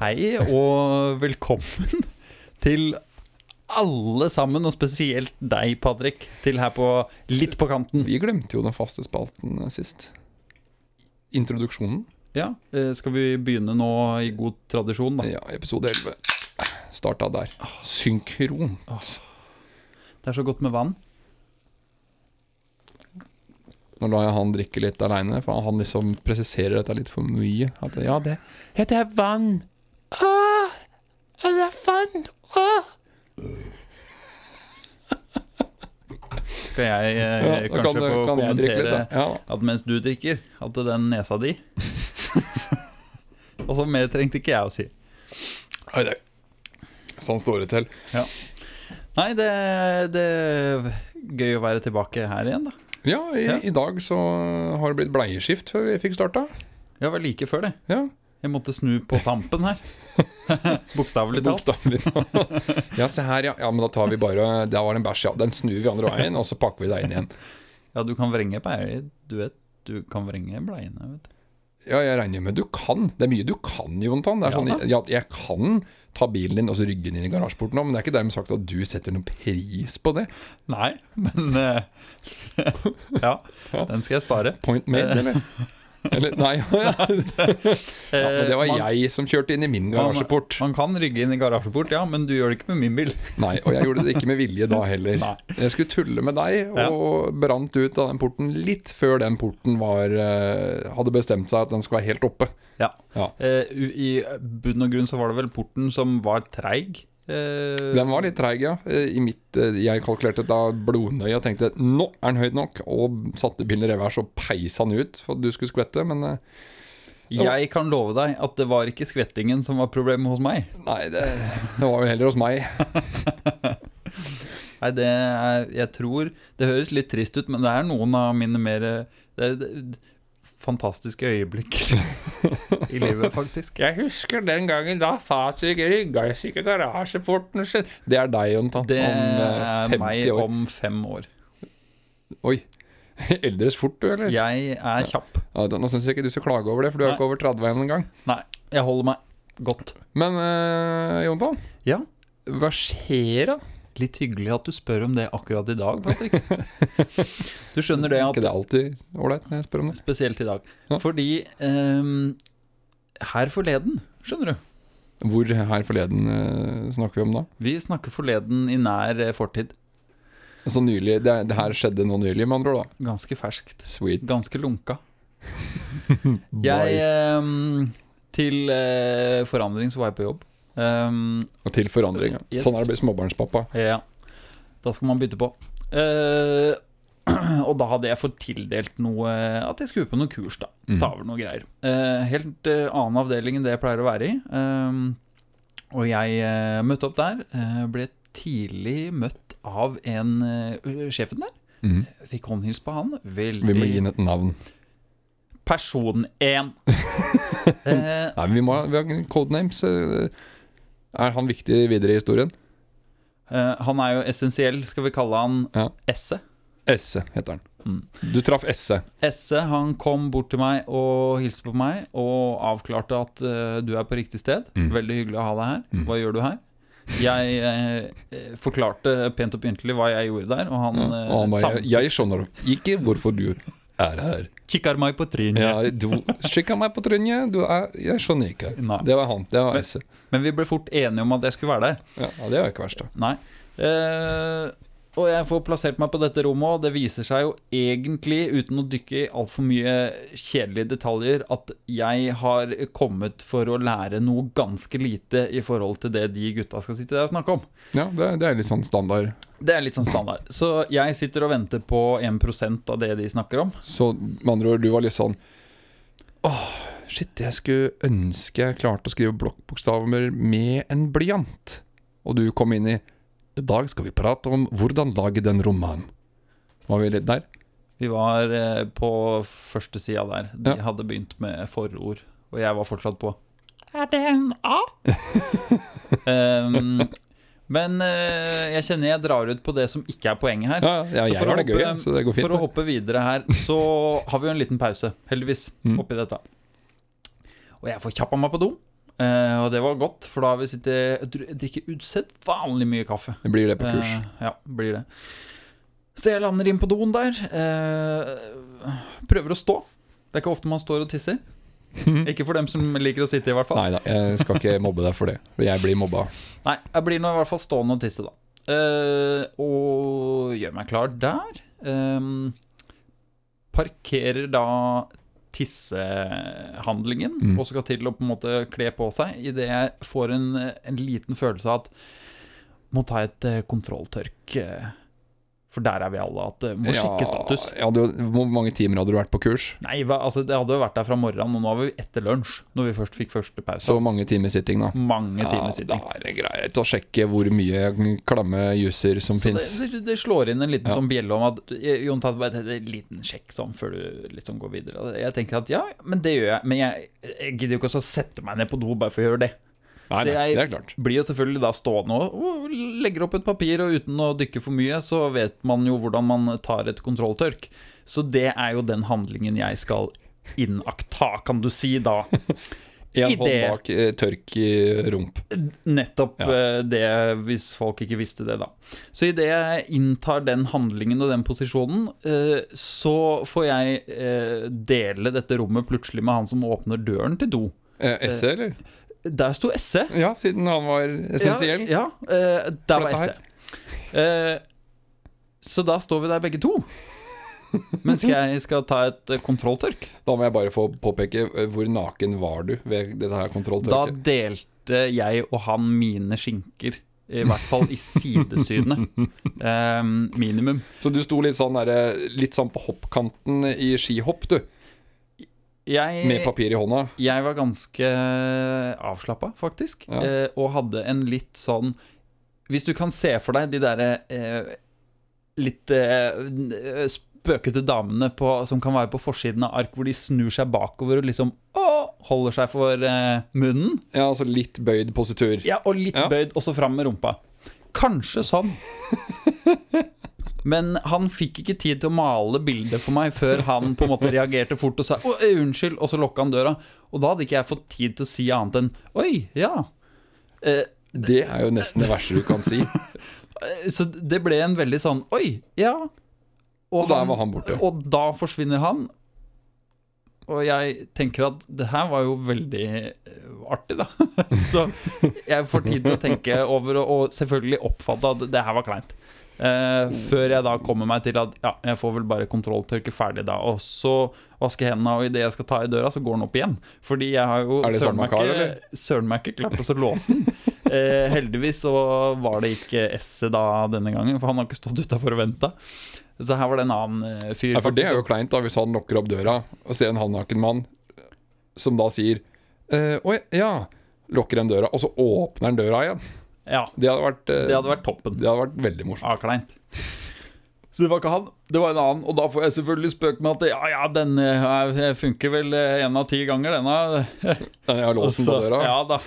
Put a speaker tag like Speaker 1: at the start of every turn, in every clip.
Speaker 1: hei og velkommen til alle sammen, og spesielt deg, Patrick, til her på Litt på kanten.
Speaker 2: Vi glemte jo den faste spalten eh, sist. Introduksjonen.
Speaker 1: Ja, eh, Skal vi begynne nå i god tradisjon, da?
Speaker 2: Ja, episode 11. Starta der. Synkron.
Speaker 1: Det er så godt med vann.
Speaker 2: Nå lar jeg han drikke litt aleine, for han liksom presiserer dette litt for mye. At ja, det heter vann. Ah, ja, det er vann. Ah.
Speaker 1: Skal jeg eh,
Speaker 2: Ja, da
Speaker 1: kanskje
Speaker 2: kan
Speaker 1: få
Speaker 2: du- kan jeg drikke
Speaker 1: kommentere
Speaker 2: litt, da. Ja.
Speaker 1: at mens du drikker, at den nesa di Altså, mer trengte ikke jeg å si.
Speaker 2: Oi, det. Sånn står det til.
Speaker 1: Nei, det, det er gøy å være tilbake her igjen, da.
Speaker 2: Ja, i,
Speaker 1: Ja.
Speaker 2: i dag så har det blitt bleieskift før vi fikk starta.
Speaker 1: Jeg var like før det.
Speaker 2: Ja,
Speaker 1: Jeg måtte snu på tampen her. Bokstavelig talt.
Speaker 2: bokstavelig talt. ja, se her, ja. ja. Men da tar vi bare Der var det en bæsj, ja. Den snur vi andre veien, og så pakker vi deg inn igjen.
Speaker 1: Ja, du kan vrenge bleier. Du vet, du kan vrenge bleiene, vet du.
Speaker 2: Ja, jeg regner med du kan. Det er mye du kan, Jonathan. Det er
Speaker 1: Ja
Speaker 2: sånn, ja, jeg kan ta bilen din og så rygge den inn i garasjeporten, nå, men det er ikke dermed sagt at du setter noen pris på det.
Speaker 1: Nei, men eh, Ja, den skal jeg spare.
Speaker 2: Point
Speaker 1: Eh.
Speaker 2: made, eller? Eller, nei, ja, men det var
Speaker 1: Eh, man-
Speaker 2: jeg som kjørte inn i min garasjeport.
Speaker 1: Man, man kan rygge inn i garasjeport, ja, men du gjør det ikke med min bil.
Speaker 2: Nei, og jeg gjorde det ikke med vilje da heller.
Speaker 1: Nei.
Speaker 2: Jeg skulle tulle med deg, og brant ut av den porten litt før den porten var eh, Hadde bestemt seg at den skulle være helt oppe.
Speaker 1: Ja.
Speaker 2: Ja.
Speaker 1: Eh, u- I bunn og grunn så var det vel porten som var treig. Eh,
Speaker 2: Den var litt treig, ja. Eh, I mitt, eh, jeg kalkulerte da blodnøye og tenkte nå er den høyd nok, og satte bilen i revers og peisa den ut for at du skulle skvette, men eh,
Speaker 1: jeg kan love deg at det var ikke skvettingen som var problemet hos meg.
Speaker 2: nei, det, det var jo heller hos meg.
Speaker 1: Nei, det er Jeg tror Det høres litt trist ut, men det er noen av mine mer eh, det, det, fantastiske øyeblikk i livet, faktisk.
Speaker 2: Jeg husker den gangen da Fasik rygga i ikke garasjeporten sin. Det er deg, Jontan.
Speaker 1: Det
Speaker 2: om eh,
Speaker 1: er
Speaker 2: 50
Speaker 1: meg
Speaker 2: år.
Speaker 1: om fem år.
Speaker 2: Oi. Eldres fort, du, eller?
Speaker 1: Jeg er kjapp.
Speaker 2: Ja, da- nå syns jeg ikke du skal klage over det, for du er
Speaker 1: Nei.
Speaker 2: ikke over 30 engang. gang.
Speaker 1: Nei, jeg holder meg godt.
Speaker 2: Men eh, Jontan,
Speaker 1: Ja,
Speaker 2: hva skjer da?
Speaker 1: litt hyggelig at du spør om det akkurat i dag, Patrick. Du skjønner det
Speaker 2: Er
Speaker 1: at
Speaker 2: ikke det alltid ålreit når jeg spør om det?
Speaker 1: Spesielt i dag.
Speaker 2: Ja.
Speaker 1: Fordi ehm, her forleden, skjønner du
Speaker 2: Hvor her forleden eh, snakker vi om da?
Speaker 1: Vi snakker forleden i nær eh, fortid.
Speaker 2: Så nylig, det, det her skjedde nå nylig, med andre ord. da
Speaker 1: Ganske ferskt.
Speaker 2: Sweet
Speaker 1: Ganske lunka.
Speaker 2: boys.
Speaker 1: Jeg ehm, Til eh, forandring så var jeg på jobb. Ehm,
Speaker 2: Og til forandring. ja.
Speaker 1: Yes.
Speaker 2: Sånn er det å bli småbarnspappa.
Speaker 1: ja. Da skal man bytte på. Eh, og da hadde jeg fått tildelt noe At jeg skulle på noen kurs, da. Ta over noe greier. Eh, helt eh, annen avdeling enn det jeg pleier å være i. Ehm, og jeg eh, møtte opp der. eh, ble tidlig møtt av en eh, sjefen der. Eh,
Speaker 2: Mhm.
Speaker 1: Fikk håndhils på han. Veldig
Speaker 2: Vi må gi henne et navn.
Speaker 1: Person 1. eh,
Speaker 2: Nei, vi, må, vi har ingen codenames. eh, Er han viktig videre i historien?
Speaker 1: eh, han er jo essensiell, skal vi kalle han
Speaker 2: Ja.
Speaker 1: Esse.
Speaker 2: Esse heter han.
Speaker 1: Mm.
Speaker 2: Du traff Esse.
Speaker 1: Esse han kom bort til meg og hilste på meg og avklarte at eh, du er på riktig sted.
Speaker 2: Mm.
Speaker 1: Veldig hyggelig å ha deg her. Hva gjør du her? Jeg eh, eh, forklarte pent og pyntelig hva jeg gjorde der, og han,
Speaker 2: Og han
Speaker 1: eh,
Speaker 2: bare
Speaker 1: sam-
Speaker 2: Jeg skjønner ikke hvorfor du er her.
Speaker 1: kikker meg på trynet.
Speaker 2: Ja, du skikka meg på trynet. Du er Jeg skjønner ikke.
Speaker 1: Nei.
Speaker 2: Det var han. Det var Esse.
Speaker 1: Men vi ble fort enige om at jeg skulle være der.
Speaker 2: Ja, det er jo ikke verst, da.
Speaker 1: Nei. Eh, og jeg får plassert meg på dette rommet, og det viser seg jo egentlig, uten å dykke i altfor mye kjedelige detaljer, at jeg har kommet for å lære noe ganske lite i forhold til det de gutta skal sitte der og snakke om.
Speaker 2: Ja, det, er- det er litt sånn standard.
Speaker 1: Det er litt sånn standard. Så jeg sitter og venter på 1 av det de snakker om.
Speaker 2: Så med andre ord, du var litt sånn Åh, shit, jeg skulle ønske jeg klarte å skrive blokkbokstaver med en blyant. Og du kom inn i I dag skal vi prate om hvordan lage den romanen. Var vi litt der?
Speaker 1: Vi var eh, på første sida der. De
Speaker 2: Ja.
Speaker 1: hadde begynt med forord, og jeg var fortsatt på Er det en A? um, men eh, jeg kjenner jeg drar ut på det som ikke er poenget her.
Speaker 2: Ja, ja,
Speaker 1: Så
Speaker 2: jeg
Speaker 1: for å
Speaker 2: har det
Speaker 1: hoppe-
Speaker 2: gøy, ja, så det går fint.
Speaker 1: For å
Speaker 2: det.
Speaker 1: hoppe videre her, så
Speaker 2: Mm.
Speaker 1: har vi jo en liten pause, heldigvis, oppi dette. Og jeg får kjappa meg på do. Eh, og det var godt, for da har vi sittet og dru- drikker usedvanlig mye kaffe.
Speaker 2: Det blir det på kurs.
Speaker 1: Eh, ja, blir det. Så jeg lander inn på doen der. eh, prøver å stå. Det er ikke ofte man står og tisser. Ikke for dem som liker å sitte, i hvert fall.
Speaker 2: Nei da, jeg skal ikke mobbe deg for det. For jeg blir mobba.
Speaker 1: Nei, jeg blir nå i hvert fall stående og tisse, da. Eh, og gjør meg klar der. Ehm, parkerer da tissehandlingen,
Speaker 2: Mm.
Speaker 1: og skal til å på en måte kle på seg, idet jeg får en, en liten følelse av at må ta et eh, kontrolltørk. eh, For der er vi alle, at eh, må sjekke status.
Speaker 2: Ja, ja, du, hvor mange timer hadde du vært på kurs?
Speaker 1: Nei, hva, altså, det hadde jo vært der fra morgenen, og nå er vi etter lunsj, når vi først fikk første pause.
Speaker 2: Så mange timer sitting, da.
Speaker 1: mange timer
Speaker 2: Ja,
Speaker 1: sitting.
Speaker 2: da er det greit å sjekke hvor mye klamme juicer som
Speaker 1: Så
Speaker 2: fins.
Speaker 1: det, det, det slår inn en liten
Speaker 2: Ja.
Speaker 1: sånn bjelle om at eh, Jon tar bare en liten sjekk sånn før du liksom går videre. Og Jeg tenker at ja, men det gjør jeg. Men jeg, jeg gidder jo ikke å sette meg ned på do bare for å gjøre det.
Speaker 2: Nei,
Speaker 1: Så
Speaker 2: nei,
Speaker 1: jeg
Speaker 2: det er klart.
Speaker 1: blir jo selvfølgelig da stående og, og legger opp et papir, og uten å dykke for mye, så vet man jo hvordan man tar et kontrolltørk. Så det er jo den handlingen jeg skal innakta, kan du si da.
Speaker 2: Én
Speaker 1: i
Speaker 2: hånd
Speaker 1: det-
Speaker 2: bak eh, tørk i rump.
Speaker 1: Nettopp
Speaker 2: Ja.
Speaker 1: eh, det, hvis folk ikke visste det, da. Så idet jeg inntar den handlingen og den posisjonen, eh, så får jeg eh, dele dette rommet plutselig med han som åpner døren til do.
Speaker 2: Eh, Esse, eller?
Speaker 1: Der sto Esse.
Speaker 2: Ja, siden han var essensiell.
Speaker 1: Ja, ja eh, der var
Speaker 2: dette
Speaker 1: Esse. Eh, så da står vi der begge to. Mens jeg skal ta et eh, kontrolltørk.
Speaker 2: Da må jeg bare få påpeke eh, hvor naken var du ved dette her
Speaker 1: Da
Speaker 2: kontrolltørket?
Speaker 1: delte jeg og han mine skinker. I hvert fall i sidesynet. Eh, minimum.
Speaker 2: Så du sto litt sånn, der, eh, litt sånn på hoppkanten i skihopp, du.
Speaker 1: Jeg,
Speaker 2: Med papir i hånda.
Speaker 1: Jeg var ganske avslappa, faktisk.
Speaker 2: Ja.
Speaker 1: eh, Og hadde en litt sånn Hvis du kan se for deg de derre eh, litt eh, spøkete damene på, som kan være på forsiden av ark, hvor de snur seg bakover og liksom å, holder seg for eh, munnen.
Speaker 2: Ja, altså litt bøyd positur.
Speaker 1: Ja, Og litt
Speaker 2: Ja.
Speaker 1: bøyd, også fram med rumpa. Kanskje sånn. Men han fikk ikke tid til å male bildet for meg før han på en måte reagerte fort og sa «Å, eh, 'unnskyld', og så lukka han døra. Og da hadde ikke jeg fått tid til å si annet enn 'oi, ja'. Eh,
Speaker 2: Det er jo nesten det verste du kan si.
Speaker 1: eh, så det ble en veldig sånn 'oi, ja'.
Speaker 2: Og der var han borte.
Speaker 1: Og da forsvinner han. Og jeg tenker at det her var jo veldig eh, artig, da. Så jeg får tid til å tenke over og- og selvfølgelig oppfatte at det her var kleint. Eh, før jeg da kommer meg til at ja, jeg får vel bare kontrolltørke ferdig da. Og så vaske hendene, og idet jeg skal ta i døra, så går den opp igjen. Fordi jeg har jo
Speaker 2: Er det
Speaker 1: søren meg
Speaker 2: samme kar,
Speaker 1: ikke-
Speaker 2: eller?
Speaker 1: søren meg ikke klart å låse den. Eh, heldigvis så var det ikke Esset da denne gangen, for han har ikke stått utafor og venta. Så her var det en annen eh, fyr.
Speaker 2: Ja, for det
Speaker 1: faktisk,
Speaker 2: er jo kleint, da, hvis han lukker opp døra og ser en halvnaken mann som da sier eh, Å ja. Lukker den døra, og så åpner han døra igjen.
Speaker 1: Ja,
Speaker 2: Det hadde vært, eh,
Speaker 1: det hadde vært toppen.
Speaker 2: det hadde vært veldig morsomt.
Speaker 1: Ja, kleint. Så det var ikke han, det var en annen. Og da får jeg selvfølgelig spøk med at ja, ja, den eh, funker vel eh, en av ti ganger, denne.
Speaker 2: Jeg har låsen på
Speaker 1: så,
Speaker 2: døra.
Speaker 1: Ja da.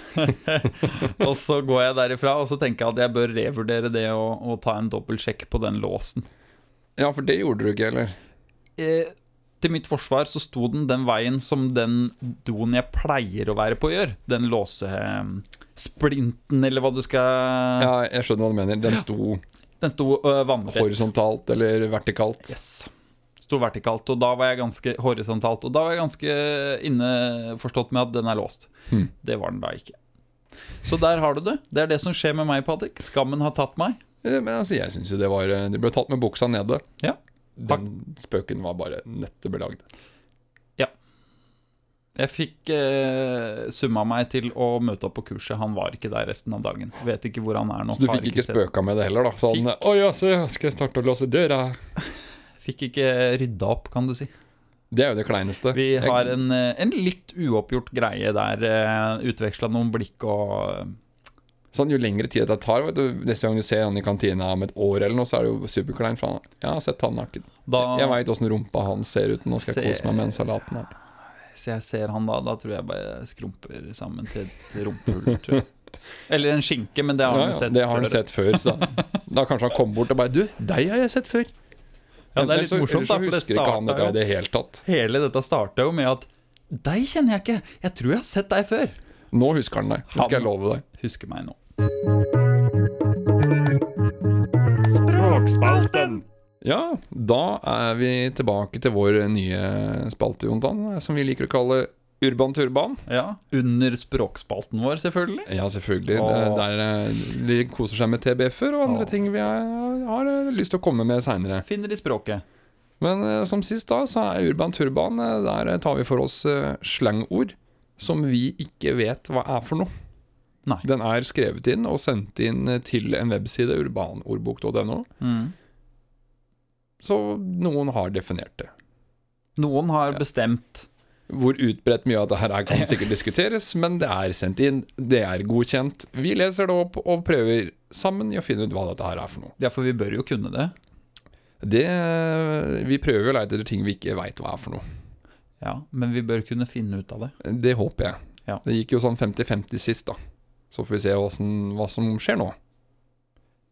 Speaker 1: og så går jeg derifra, og så tenker jeg at jeg bør revurdere det og, og ta en dobbeltsjekk på den låsen.
Speaker 2: Ja, for det gjorde du ikke, eller?
Speaker 1: Eh, til mitt forsvar så sto den den veien som den doen jeg pleier å være på, gjør. Den låsesplinten, eller hva du skal
Speaker 2: Ja, jeg skjønner hva du mener. Den sto
Speaker 1: Den sto øh, vannrett.
Speaker 2: horisontalt eller vertikalt.
Speaker 1: Yes. Sto vertikalt, og da var jeg ganske horisontalt. Og da var jeg ganske innforstått med at den er låst.
Speaker 2: Hmm.
Speaker 1: Det var den da ikke. Så der har du det. Det er det som skjer med meg, Patrick. Skammen har tatt meg.
Speaker 2: Eh, Men altså, jeg syns jo det var eh, Det ble tatt med buksa nede.
Speaker 1: Ja.
Speaker 2: Den spøken var bare nettet belagd.
Speaker 1: Jeg fikk eh, summa meg til å møte opp på kurset. Han var ikke der resten av dagen. Vet ikke hvor han er nå.
Speaker 2: Så du
Speaker 1: Har
Speaker 2: fikk ikke
Speaker 1: sett-
Speaker 2: spøka med det heller, da? Sånn
Speaker 1: Fikk.
Speaker 2: Å ja, så ja, skal jeg starte å låse døra?
Speaker 1: Fikk ikke rydda opp, kan du si.
Speaker 2: Det er jo det kleineste.
Speaker 1: Vi
Speaker 2: Jeg-
Speaker 1: har en, eh, en litt uoppgjort greie der. Eh, Utveksla noen blikk og
Speaker 2: Sånn, Jo lengre tid det tar, vet du, neste gang du ser han i kantina om et år, eller noe, så er det jo superklein. For han, jeg har sett han naken.
Speaker 1: da,
Speaker 2: Jeg veit åssen rumpa han ser ut. Nå skal jeg
Speaker 1: Se-
Speaker 2: kose meg med den salaten her.
Speaker 1: Så jeg ser han da, da tror jeg bare jeg skrumper sammen til et rumpehull. tror jeg. Eller en skinke, men det har
Speaker 2: Ja,
Speaker 1: han jo
Speaker 2: ja,
Speaker 1: sett
Speaker 2: det har han
Speaker 1: før.
Speaker 2: sett før. Så da, da kanskje han kom bort og bare Du, deg har jeg sett før.
Speaker 1: Ja, det er
Speaker 2: Ellers
Speaker 1: litt
Speaker 2: så-
Speaker 1: morsomt,
Speaker 2: ellers så
Speaker 1: da, for det
Speaker 2: husker ikke han dette
Speaker 1: starta
Speaker 2: i det hele tatt.
Speaker 1: Hele dette starta jo med at Deg kjenner jeg ikke, jeg tror jeg har sett deg før.
Speaker 2: Nå husker han deg. Det skal jeg love deg.
Speaker 1: Husker meg nå.
Speaker 2: Ja, da er vi tilbake til vår nye spalte, Jontan, som vi liker å kalle Urban turban.
Speaker 1: Ja, Under språkspalten vår, selvfølgelig.
Speaker 2: Ja, selvfølgelig.
Speaker 1: Åh.
Speaker 2: Det- Der eh, de koser seg med TBF-er og andre
Speaker 1: Åh.
Speaker 2: ting vi har, har eh, lyst til å komme med seinere.
Speaker 1: Finner i språket.
Speaker 2: Men eh, som sist da, så er Urban Turban eh, Der eh, tar vi for oss eh, slangord som vi ikke vet hva er for noe.
Speaker 1: Nei.
Speaker 2: Den er skrevet inn og sendt inn eh, til en webside, urbanordbok.no,
Speaker 1: Mm.
Speaker 2: så noen har definert det.
Speaker 1: Noen har bestemt.
Speaker 2: Hvor utbredt mye av det her er, kan sikkert diskuteres, men det er sendt inn, det er godkjent. Vi leser det opp og prøver sammen i å finne ut hva dette her er for noe.
Speaker 1: Ja, for vi bør jo kunne det.
Speaker 2: Det, eh, vi prøver å leite etter ting vi ikke veit hva er for noe.
Speaker 1: Ja, Men vi bør kunne finne ut av det.
Speaker 2: Det håper jeg.
Speaker 1: Ja.
Speaker 2: Det gikk jo sånn 50-50 sist, da. Så får vi se hva som, hva som skjer nå.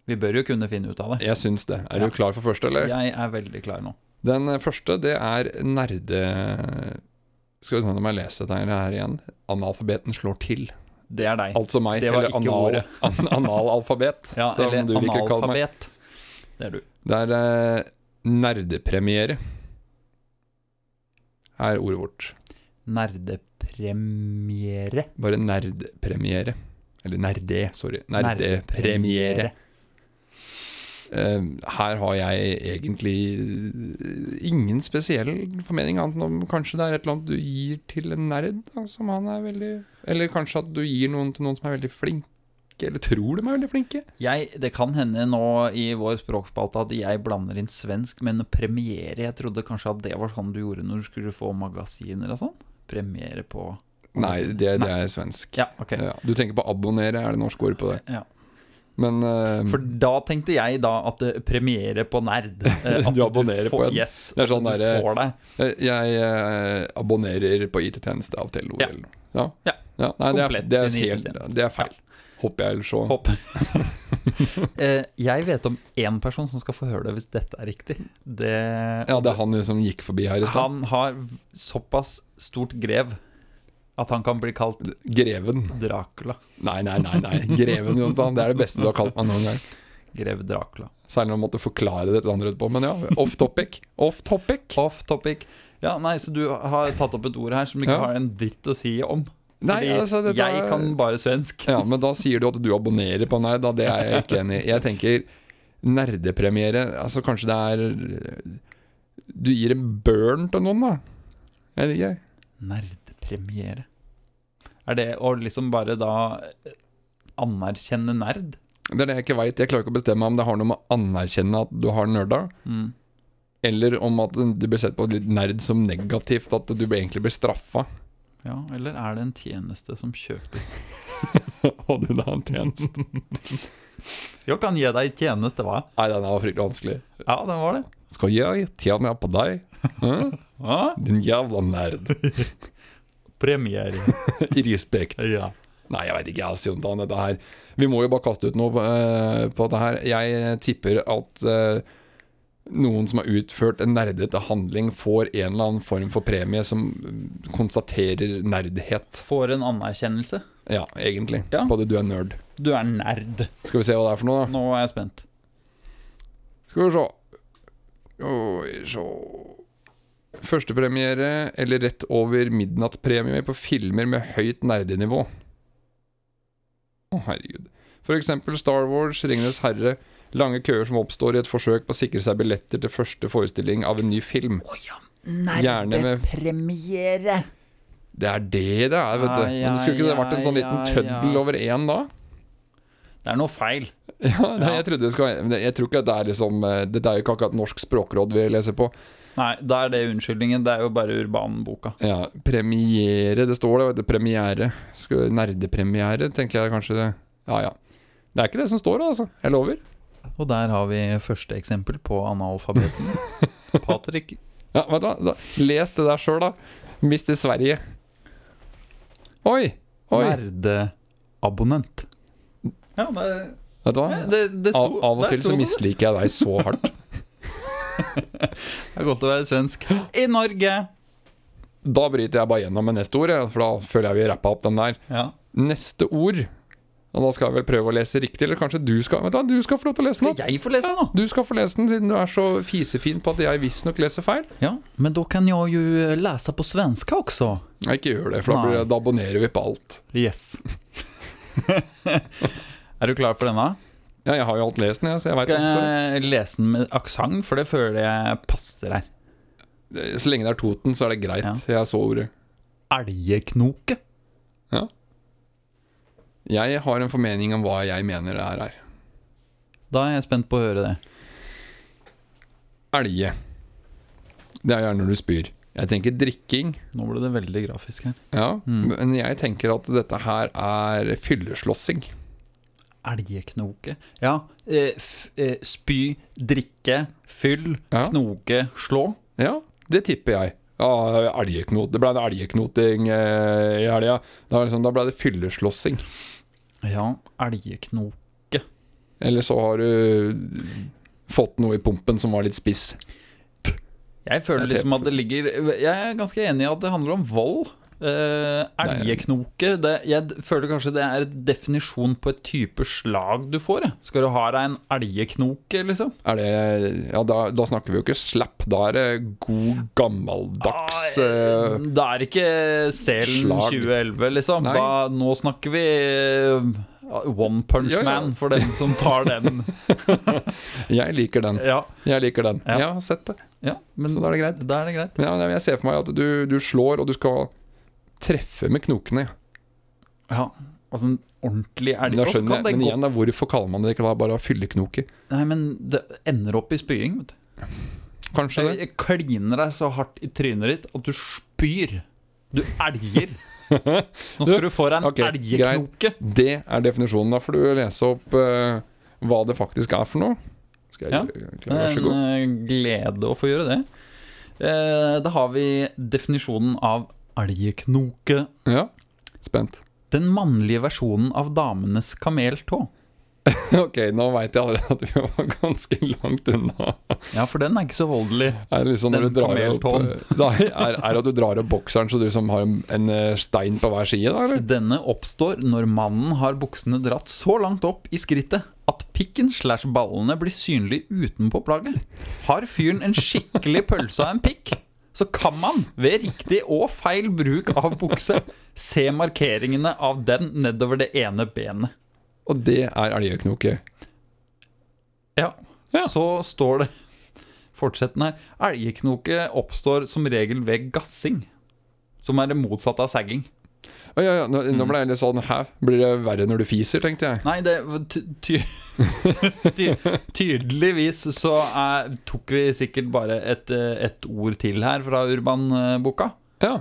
Speaker 1: Vi bør jo kunne finne ut av det.
Speaker 2: Jeg syns det. Er
Speaker 1: Ja.
Speaker 2: du klar for første, eller?
Speaker 1: Jeg er veldig klar nå.
Speaker 2: Den eh, første, det er nerde... Skal vi se om jeg leser dette her igjen. Analfabeten slår til.
Speaker 1: Det er deg.
Speaker 2: Altså meg,
Speaker 1: Det var
Speaker 2: eller
Speaker 1: ikke
Speaker 2: anal,
Speaker 1: ordet.
Speaker 2: an, analalfabet.
Speaker 1: Ja,
Speaker 2: som
Speaker 1: eller
Speaker 2: du liker å kalle meg.
Speaker 1: analfabet. Det er du.
Speaker 2: Det er eh, nerdepremiere. Er ordet vårt.
Speaker 1: Nerdepremiere.
Speaker 2: Bare nerdpremiere. Eller nerde, sorry. Nerdepremiere. Eh, her har jeg egentlig eh, ingen spesiell formening, annet enn om kanskje det er et eller annet du gir til en nerd, da, som han er veldig Eller kanskje at du gir noen til noen som er veldig flinke, eller tror de er veldig flinke.
Speaker 1: Jeg, det kan hende nå i vår språkspalte at jeg blander inn svensk, men premiere Jeg trodde kanskje at det var sånn du gjorde når du skulle få magasiner og sånn? Premiere på
Speaker 2: Nei, det, det er svensk.
Speaker 1: Ja, ok.
Speaker 2: Ja, du tenker på abonnere, er det norsk ord på det?
Speaker 1: Ja.
Speaker 2: Men eh,
Speaker 1: For da tenkte jeg da at eh, premiere på nerd eh, at
Speaker 2: Du abonnerer
Speaker 1: får-
Speaker 2: på en.
Speaker 1: Yes,
Speaker 2: Det er sånn
Speaker 1: at du
Speaker 2: der, eh,
Speaker 1: får deg.
Speaker 2: eh, jeg eh, abonnerer på IT-tjeneste av Telenor
Speaker 1: Ja.
Speaker 2: eller noe. Ja.
Speaker 1: Ja.
Speaker 2: Nei, det er,
Speaker 1: Komplett
Speaker 2: det, er
Speaker 1: sin
Speaker 2: helt,
Speaker 1: IT-tjeneste.
Speaker 2: det er feil. Håper jeg, eller så.
Speaker 1: Hopp. Eh, jeg vet om én person som skal få høre det hvis dette er riktig. Det,
Speaker 2: Ja, det er han som gikk forbi her i stad.
Speaker 1: Han har såpass stort grev at han kan bli kalt
Speaker 2: Greven.
Speaker 1: Dracula.
Speaker 2: Nei, nei, nei, nei. Greven Jonathan, det er det beste du har kalt meg noen gang.
Speaker 1: Grev Dracula.
Speaker 2: Særlig når man måtte forklare det til andre etterpå. Men ja, off topic. Off topic.
Speaker 1: Off topic. Ja, nei, så du har tatt opp et ord her som du ikke
Speaker 2: Ja.
Speaker 1: har en dritt å si om. Fordi
Speaker 2: Nei, altså, dette
Speaker 1: jeg
Speaker 2: er-
Speaker 1: kan bare svensk.
Speaker 2: Ja, men da sier du at du abonnerer på Nerd, da. Det er jeg ikke enig i. Jeg tenker nerdepremiere Altså, kanskje det er Du gir en burn til noen, da. Jeg vet ikke.
Speaker 1: Nerdpremiere. Er det å liksom bare da eh, anerkjenne nerd?
Speaker 2: Det er det jeg ikke veit. Jeg klarer ikke å bestemme om det har noe med å anerkjenne at du har nerda,
Speaker 1: Mm.
Speaker 2: eller om at du blir sett på litt nerd som negativt, at du egentlig blir straffa.
Speaker 1: Ja, eller er det en tjeneste som kjøpes?
Speaker 2: Og du da en tjeneste.
Speaker 1: Jeg kan gi deg tjeneste, hva?
Speaker 2: Nei, den var fryktelig vanskelig.
Speaker 1: Ja, den var det.
Speaker 2: Skal jeg tjene på deg? Hæ?
Speaker 1: Ah,
Speaker 2: Din jævla nerd.
Speaker 1: premiere.
Speaker 2: I respekt.
Speaker 1: Ja.
Speaker 2: Nei, jeg veit ikke, jeg, Jontan. Dette her Vi må jo bare kaste ut noe eh, på dette her. Jeg tipper at eh, noen som har utført en nerdete handling, får en eller annen form for premie som konstaterer nerdhet.
Speaker 1: Får en anerkjennelse.
Speaker 2: Ja, egentlig.
Speaker 1: Ja.
Speaker 2: På det du er nerd.
Speaker 1: Du er nerd.
Speaker 2: Skal vi se hva det er for noe, da?
Speaker 1: Nå er jeg spent.
Speaker 2: Skal vi se. Oi, så Førstepremiere eller rett over midnattpremie på filmer med høyt nerdenivå. Å, herregud. For eksempel Star Wars, Ringenes herre. Lange køer som oppstår i et forsøk på å sikre seg billetter til første forestilling av en ny film. Gjerne med-
Speaker 1: Nerdepremiere.
Speaker 2: Det er det det er, vet du.
Speaker 1: Ai,
Speaker 2: Men det skulle ikke det
Speaker 1: ai,
Speaker 2: vært en sånn liten
Speaker 1: ai, ai.
Speaker 2: tøddel over én da?
Speaker 1: Det er noe feil.
Speaker 2: Ja, nei,
Speaker 1: Ja.
Speaker 2: jeg trodde det skulle være men Jeg tror ikke at det er liksom eh, Dette er jo ikke akkurat Norsk språkråd vi leser på.
Speaker 1: Nei, da er det unnskyldningen. Det er jo bare urbanboka.
Speaker 2: Ja, premiere, det står det, vet du, premiere. Skulle- Nerdepremiere, tenker jeg kanskje. det- Ja, ja. Det er ikke det som står, altså. Jeg lover.
Speaker 1: Og der har vi første eksempel på analfabeten. Patrick
Speaker 2: Ja, vet du hva? Da, les det der sjøl, da. Hvis til Sverige. Oi! Oi.
Speaker 1: Nerdeabonnent. Ja, det,
Speaker 2: Vet du hva?
Speaker 1: det, det
Speaker 2: Av,
Speaker 1: sto
Speaker 2: av og
Speaker 1: der
Speaker 2: til
Speaker 1: sto
Speaker 2: så
Speaker 1: det.
Speaker 2: misliker jeg deg så hardt.
Speaker 1: Det er godt å være svensk. I Norge!
Speaker 2: Da bryter jeg bare gjennom med neste ord, jeg, for da føler jeg vi rappa opp den der.
Speaker 1: Ja.
Speaker 2: Neste ord Og da skal jeg vel prøve å lese riktig, eller kanskje du skal Vet du, hva, du skal få lov til å lese den.
Speaker 1: Skal jeg få lese den, da?
Speaker 2: Du skal få lese den, siden du er så fisefin på at jeg visstnok leser feil.
Speaker 1: Ja, men da kan jeg jo lese på svenska også.
Speaker 2: Nei, ikke gjør det, for da, blir det, da abonnerer vi på alt.
Speaker 1: Yes. er du klar for denne?
Speaker 2: Ja, jeg har jo alt lest den, jeg, så jeg veit
Speaker 1: Skal
Speaker 2: jeg...
Speaker 1: jeg lese den med aksent, for det føler jeg passer her.
Speaker 2: Så lenge det er Toten, så er det greit. Jeg så ordet.
Speaker 1: Elgeknoke.
Speaker 2: Ja. Jeg har en formening om hva jeg mener det er her.
Speaker 1: Da er jeg spent på å høre det.
Speaker 2: Elge. Det er gjerne når du spyr. Jeg tenker drikking.
Speaker 1: Nå ble det veldig grafisk her.
Speaker 2: Ja, Men jeg tenker at dette her er fylleslåssing.
Speaker 1: Elgeknoke. Ja. Eh, f eh, spy, drikke, fyll,
Speaker 2: Ja.
Speaker 1: knoke, slå.
Speaker 2: Ja, det tipper jeg. Ja, elgeknot. Det ble en elgeknoting eh, i helga. Da, liksom, da ble det fylleslåssing.
Speaker 1: Ja, elgeknoke.
Speaker 2: Eller så har du fått noe i pumpen som var litt spiss.
Speaker 1: Jeg føler
Speaker 2: Jeg
Speaker 1: liksom at det ligger Jeg er ganske enig i at det handler om vold. Eh, elgeknoke det, Jeg d- føler kanskje det er en definisjon på et type slag du får. jeg. Skal du ha deg en elgeknoke, liksom?
Speaker 2: Er det, ja, da, da snakker vi jo ikke slapp. Da er det god, gammeldags
Speaker 1: Ah,
Speaker 2: eh,
Speaker 1: Da er det ikke selen
Speaker 2: slag.
Speaker 1: 2011, liksom.
Speaker 2: Nei.
Speaker 1: Da, nå snakker vi eh, One Punch
Speaker 2: Ja, ja.
Speaker 1: Man, for den som tar den.
Speaker 2: Jeg liker den.
Speaker 1: ja,
Speaker 2: Jeg liker den.
Speaker 1: Ja.
Speaker 2: Jeg har sett det.
Speaker 1: ja, men
Speaker 2: Så da er det greit.
Speaker 1: da er det greit.
Speaker 2: Men ja, men jeg ser for meg at du, du slår, og du skal treffe med knokene.
Speaker 1: Ja, altså en ordentlig elg.
Speaker 2: Men da
Speaker 1: Og så kan
Speaker 2: skjønner jeg,
Speaker 1: det
Speaker 2: men
Speaker 1: gå-
Speaker 2: igjen da, hvorfor kaller man det ikke da bare fylleknoke?
Speaker 1: Nei, men det ender opp i spying, vet du.
Speaker 2: Kanskje
Speaker 1: Jeg,
Speaker 2: det?
Speaker 1: jeg kliner deg så hardt i trynet ditt at du spyr. Du elger. Nå skal du få deg en
Speaker 2: ok,
Speaker 1: elgeknoke.
Speaker 2: Det er definisjonen. Da får du lese opp eh, hva det faktisk er for noe. Skal jeg
Speaker 1: Ja.
Speaker 2: gjøre
Speaker 1: Det
Speaker 2: klar, vær
Speaker 1: er
Speaker 2: så
Speaker 1: en
Speaker 2: god.
Speaker 1: eh, glede å få gjøre det. Eh, Da har vi definisjonen av elgeknoke.
Speaker 2: Ja, spent.
Speaker 1: Den mannlige versjonen av damenes kameltå.
Speaker 2: Ok, nå veit jeg allerede at vi var ganske langt unna.
Speaker 1: Ja, for den er ikke så voldelig.
Speaker 2: Er det liksom når
Speaker 1: Den
Speaker 2: du drar opp eh,
Speaker 1: kameltåen.
Speaker 2: Nei, er, er det at du drar opp bokseren så du som har en, en eh, stein på hver side, da? Eller?
Speaker 1: Denne oppstår når mannen har buksene dratt så langt opp i skrittet at pikken slash ballene blir synlig utenpå plagget. Har fyren en skikkelig pølse av en pikk, så kan man ved riktig og feil bruk av bukse se markeringene av den nedover det ene benet.
Speaker 2: Og det er elgeknoke.
Speaker 1: Ja,
Speaker 2: Ja.
Speaker 1: så står det Fortsettende her. Elgeknoke oppstår som regel ved gassing, som er det motsatte av sagging.
Speaker 2: Å, ja, ja, nå, nå ble jeg litt sånn Hæ? Blir det verre når du fiser, tenkte jeg.
Speaker 1: Nei, det var ty ty ty Tydeligvis så er, tok vi sikkert bare et, eh, et ord til her fra Urban-boka.
Speaker 2: Ja,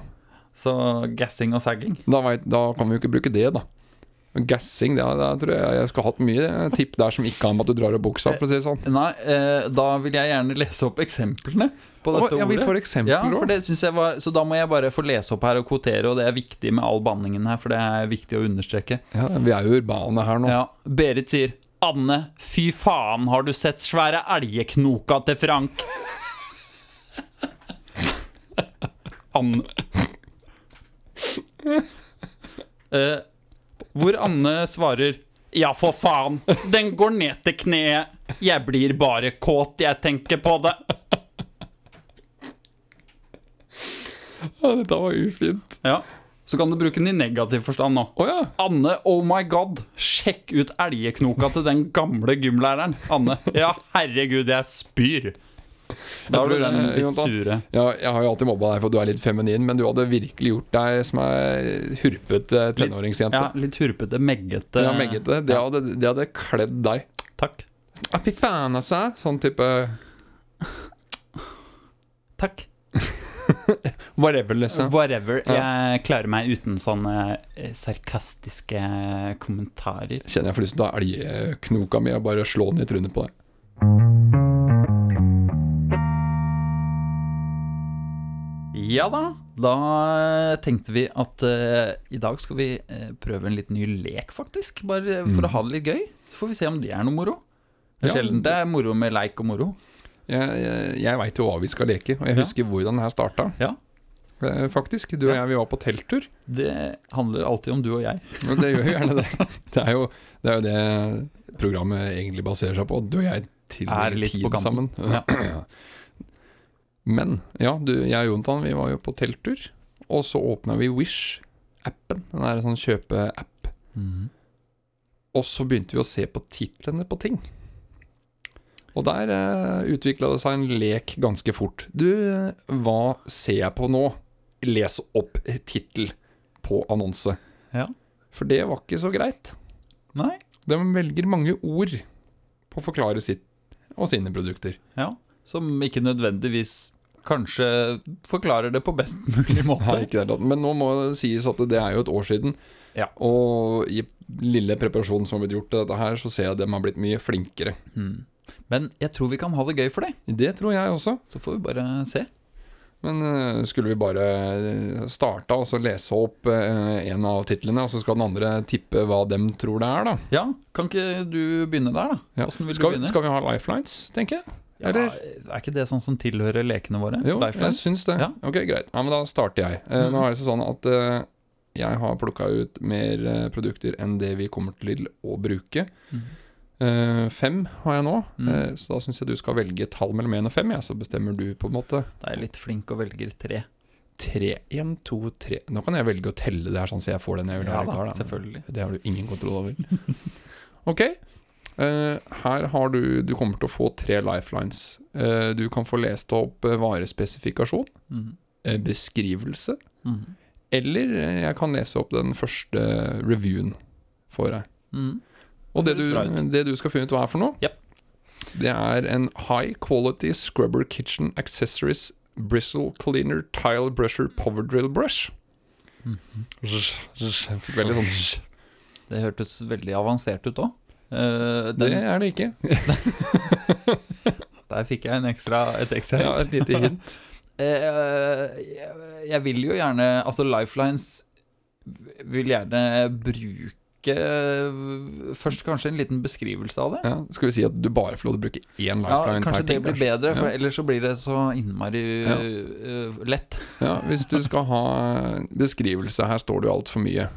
Speaker 1: Så gassing og sagging.
Speaker 2: Da, vet, da kan vi jo ikke bruke det, da. Gassing, det, det tror jeg jeg skulle hatt mye tipp der som ikke har med at du drar opp buksa, for å si det sånn.
Speaker 1: Nei, eh, da vil jeg gjerne lese opp eksemplene på
Speaker 2: Å,
Speaker 1: dette
Speaker 2: ja, vi
Speaker 1: ordet.
Speaker 2: får eksempler
Speaker 1: ja, for
Speaker 2: også.
Speaker 1: det synes jeg var, Så da må jeg bare få lese opp her og kvotere, og det er viktig med all banningen her, for det er viktig å understreke.
Speaker 2: Ja, vi er jo urbane her nå.
Speaker 1: Ja, Berit sier Anne, fy faen, har du sett svære elgeknoka til Frank? Anne eh, Hvor Anne svarer Ja, for faen, den går ned til kneet. Jeg blir bare kåt, jeg tenker på det.
Speaker 2: Ja, dette var ufint.
Speaker 1: Ja, Så kan du bruke den i negativ forstand nå.
Speaker 2: Å ja.
Speaker 1: Anne, oh my god, sjekk ut elgeknoka til den gamle gymlæreren. Anne, ja, herregud, jeg spyr. Da
Speaker 2: Jeg
Speaker 1: blir
Speaker 2: tror,
Speaker 1: den
Speaker 2: eh,
Speaker 1: litt
Speaker 2: Jonathan,
Speaker 1: sure.
Speaker 2: ja. Jeg har jo alltid mobba deg for at du er litt feminin, men du hadde virkelig gjort deg som ei hurpete tenåringsjente.
Speaker 1: Ja, litt hurpete, meggete.
Speaker 2: Ja, meggete. Det hadde, det hadde kledd deg.
Speaker 1: Takk.
Speaker 2: Ja, fy faen, altså! Sånn type
Speaker 1: Takk.
Speaker 2: whatever, liksom.
Speaker 1: Whatever.
Speaker 2: Ja.
Speaker 1: Jeg klarer meg uten sånne eh, sarkastiske kommentarer.
Speaker 2: Kjenner jeg får lyst til å ta elgknoka mi og bare slå den i trynet på deg.
Speaker 1: Ja da, da tenkte vi at eh, i dag skal vi eh, prøve en litt ny lek, faktisk. Bare for å ha det litt gøy. Så får vi se om det er noe moro. Det er
Speaker 2: Mm. Ja,
Speaker 1: sjelden det er moro med leik og moro.
Speaker 2: Jeg, jeg, jeg veit jo hva vi skal leke, og jeg husker hvordan det her starta.
Speaker 1: Ja.
Speaker 2: eh, faktisk. Du og
Speaker 1: Ja.
Speaker 2: jeg, vi var på telttur.
Speaker 1: Det handler alltid om du og jeg.
Speaker 2: Men det gjør jo gjerne det. Det er jo det, er jo det programmet egentlig baserer seg på. Du og jeg
Speaker 1: Er
Speaker 2: tilbringer
Speaker 1: litt på
Speaker 2: tid
Speaker 1: kanten.
Speaker 2: sammen. Men ja, du, jeg og Jonathan vi var jo på telttur, og så åpna vi Wish-appen. Den er en sånn kjøpeapp.
Speaker 1: Mhm.
Speaker 2: Og så begynte vi å se på titlene på ting. Og der eh, utvikla det seg en lek ganske fort. Du, eh, hva ser jeg på nå? Les opp tittel på annonse.
Speaker 1: Ja.
Speaker 2: For det var ikke så greit.
Speaker 1: Nei?
Speaker 2: De velger mange ord på å forklare sitt og sine produkter.
Speaker 1: Ja. Som ikke nødvendigvis kanskje forklarer det på best mulig
Speaker 2: Nei,
Speaker 1: måte.
Speaker 2: ikke det, hele tatt. men nå må det sies at det er jo et år siden.
Speaker 1: Ja.
Speaker 2: Og i lille preparasjonen som har blitt gjort til dette her, så ser jeg at de har blitt mye flinkere.
Speaker 1: Mm. Men jeg tror vi kan ha det gøy for det.
Speaker 2: Det tror jeg også.
Speaker 1: Så får vi bare se.
Speaker 2: Men eh, skulle vi bare eh, starte og så lese opp eh, en av titlene, og så skal den andre tippe hva dem tror det er, da?
Speaker 1: Ja, kan ikke du begynne der, da?
Speaker 2: Ja.
Speaker 1: Hvordan vil
Speaker 2: Skal,
Speaker 1: du
Speaker 2: vi-
Speaker 1: begynne?
Speaker 2: skal vi ha lifelines, tenker jeg?
Speaker 1: ja, er ikke det sånn som tilhører lekene våre?
Speaker 2: Jo, jeg
Speaker 1: Lifelines?
Speaker 2: syns det.
Speaker 1: Ja.
Speaker 2: Ok, greit. Ja, men da starter jeg. Eh,
Speaker 1: Mhm.
Speaker 2: Nå er det sånn at eh, jeg har plukka ut mer eh, produkter enn det vi kommer til å bruke.
Speaker 1: Mhm.
Speaker 2: Eh, fem har jeg nå,
Speaker 1: Mhm.
Speaker 2: eh, så da syns jeg du skal velge et tall mellom én og fem. Ja, så bestemmer du på en måte
Speaker 1: Da er jeg litt flink og velger tre.
Speaker 2: tre. Én, to, tre Nå kan jeg velge å telle det her, sånn så jeg får den jeg vil
Speaker 1: Ja
Speaker 2: ha.
Speaker 1: da,
Speaker 2: likevel, da.
Speaker 1: selvfølgelig.
Speaker 2: Det har du ingen kontroll over. Ok. eh, her har du Du kommer til å få tre lifelines. Eh, du kan få lest opp eh, varespesifikasjon,
Speaker 1: Mhm.
Speaker 2: eh, beskrivelse
Speaker 1: Mhm.
Speaker 2: Eller eh, jeg kan lese opp den første reviewen for deg.
Speaker 1: Mhm.
Speaker 2: Og det
Speaker 1: Det
Speaker 2: du,
Speaker 1: høres bra
Speaker 2: det du skal finne ut hva er for noe,
Speaker 1: Japp.
Speaker 2: det er en High Quality Scrubber Kitchen Accessories Bristle Cleaner Tile Brusher Power Drill Brush.
Speaker 1: Mhm.
Speaker 2: Fikk Veldig sånn
Speaker 1: Det hørtes veldig avansert ut Eh, òg.
Speaker 2: Det er det ikke.
Speaker 1: Der fikk jeg en ekstra, et ekstra
Speaker 2: Ja, et lite hint.
Speaker 1: Eh, jeg, jeg vil jo gjerne Altså, Lifelines vil gjerne bruke eh, Først kanskje en liten beskrivelse av det.
Speaker 2: Ja, skal vi si at du bare får lov til å bruke én
Speaker 1: Ja,
Speaker 2: lifeline
Speaker 1: Kanskje det blir bedre, for
Speaker 2: Ja.
Speaker 1: ellers så blir det så innmari
Speaker 2: Ja.
Speaker 1: eh, lett.
Speaker 2: Ja, hvis du skal ha beskrivelse, her står det jo altfor mye.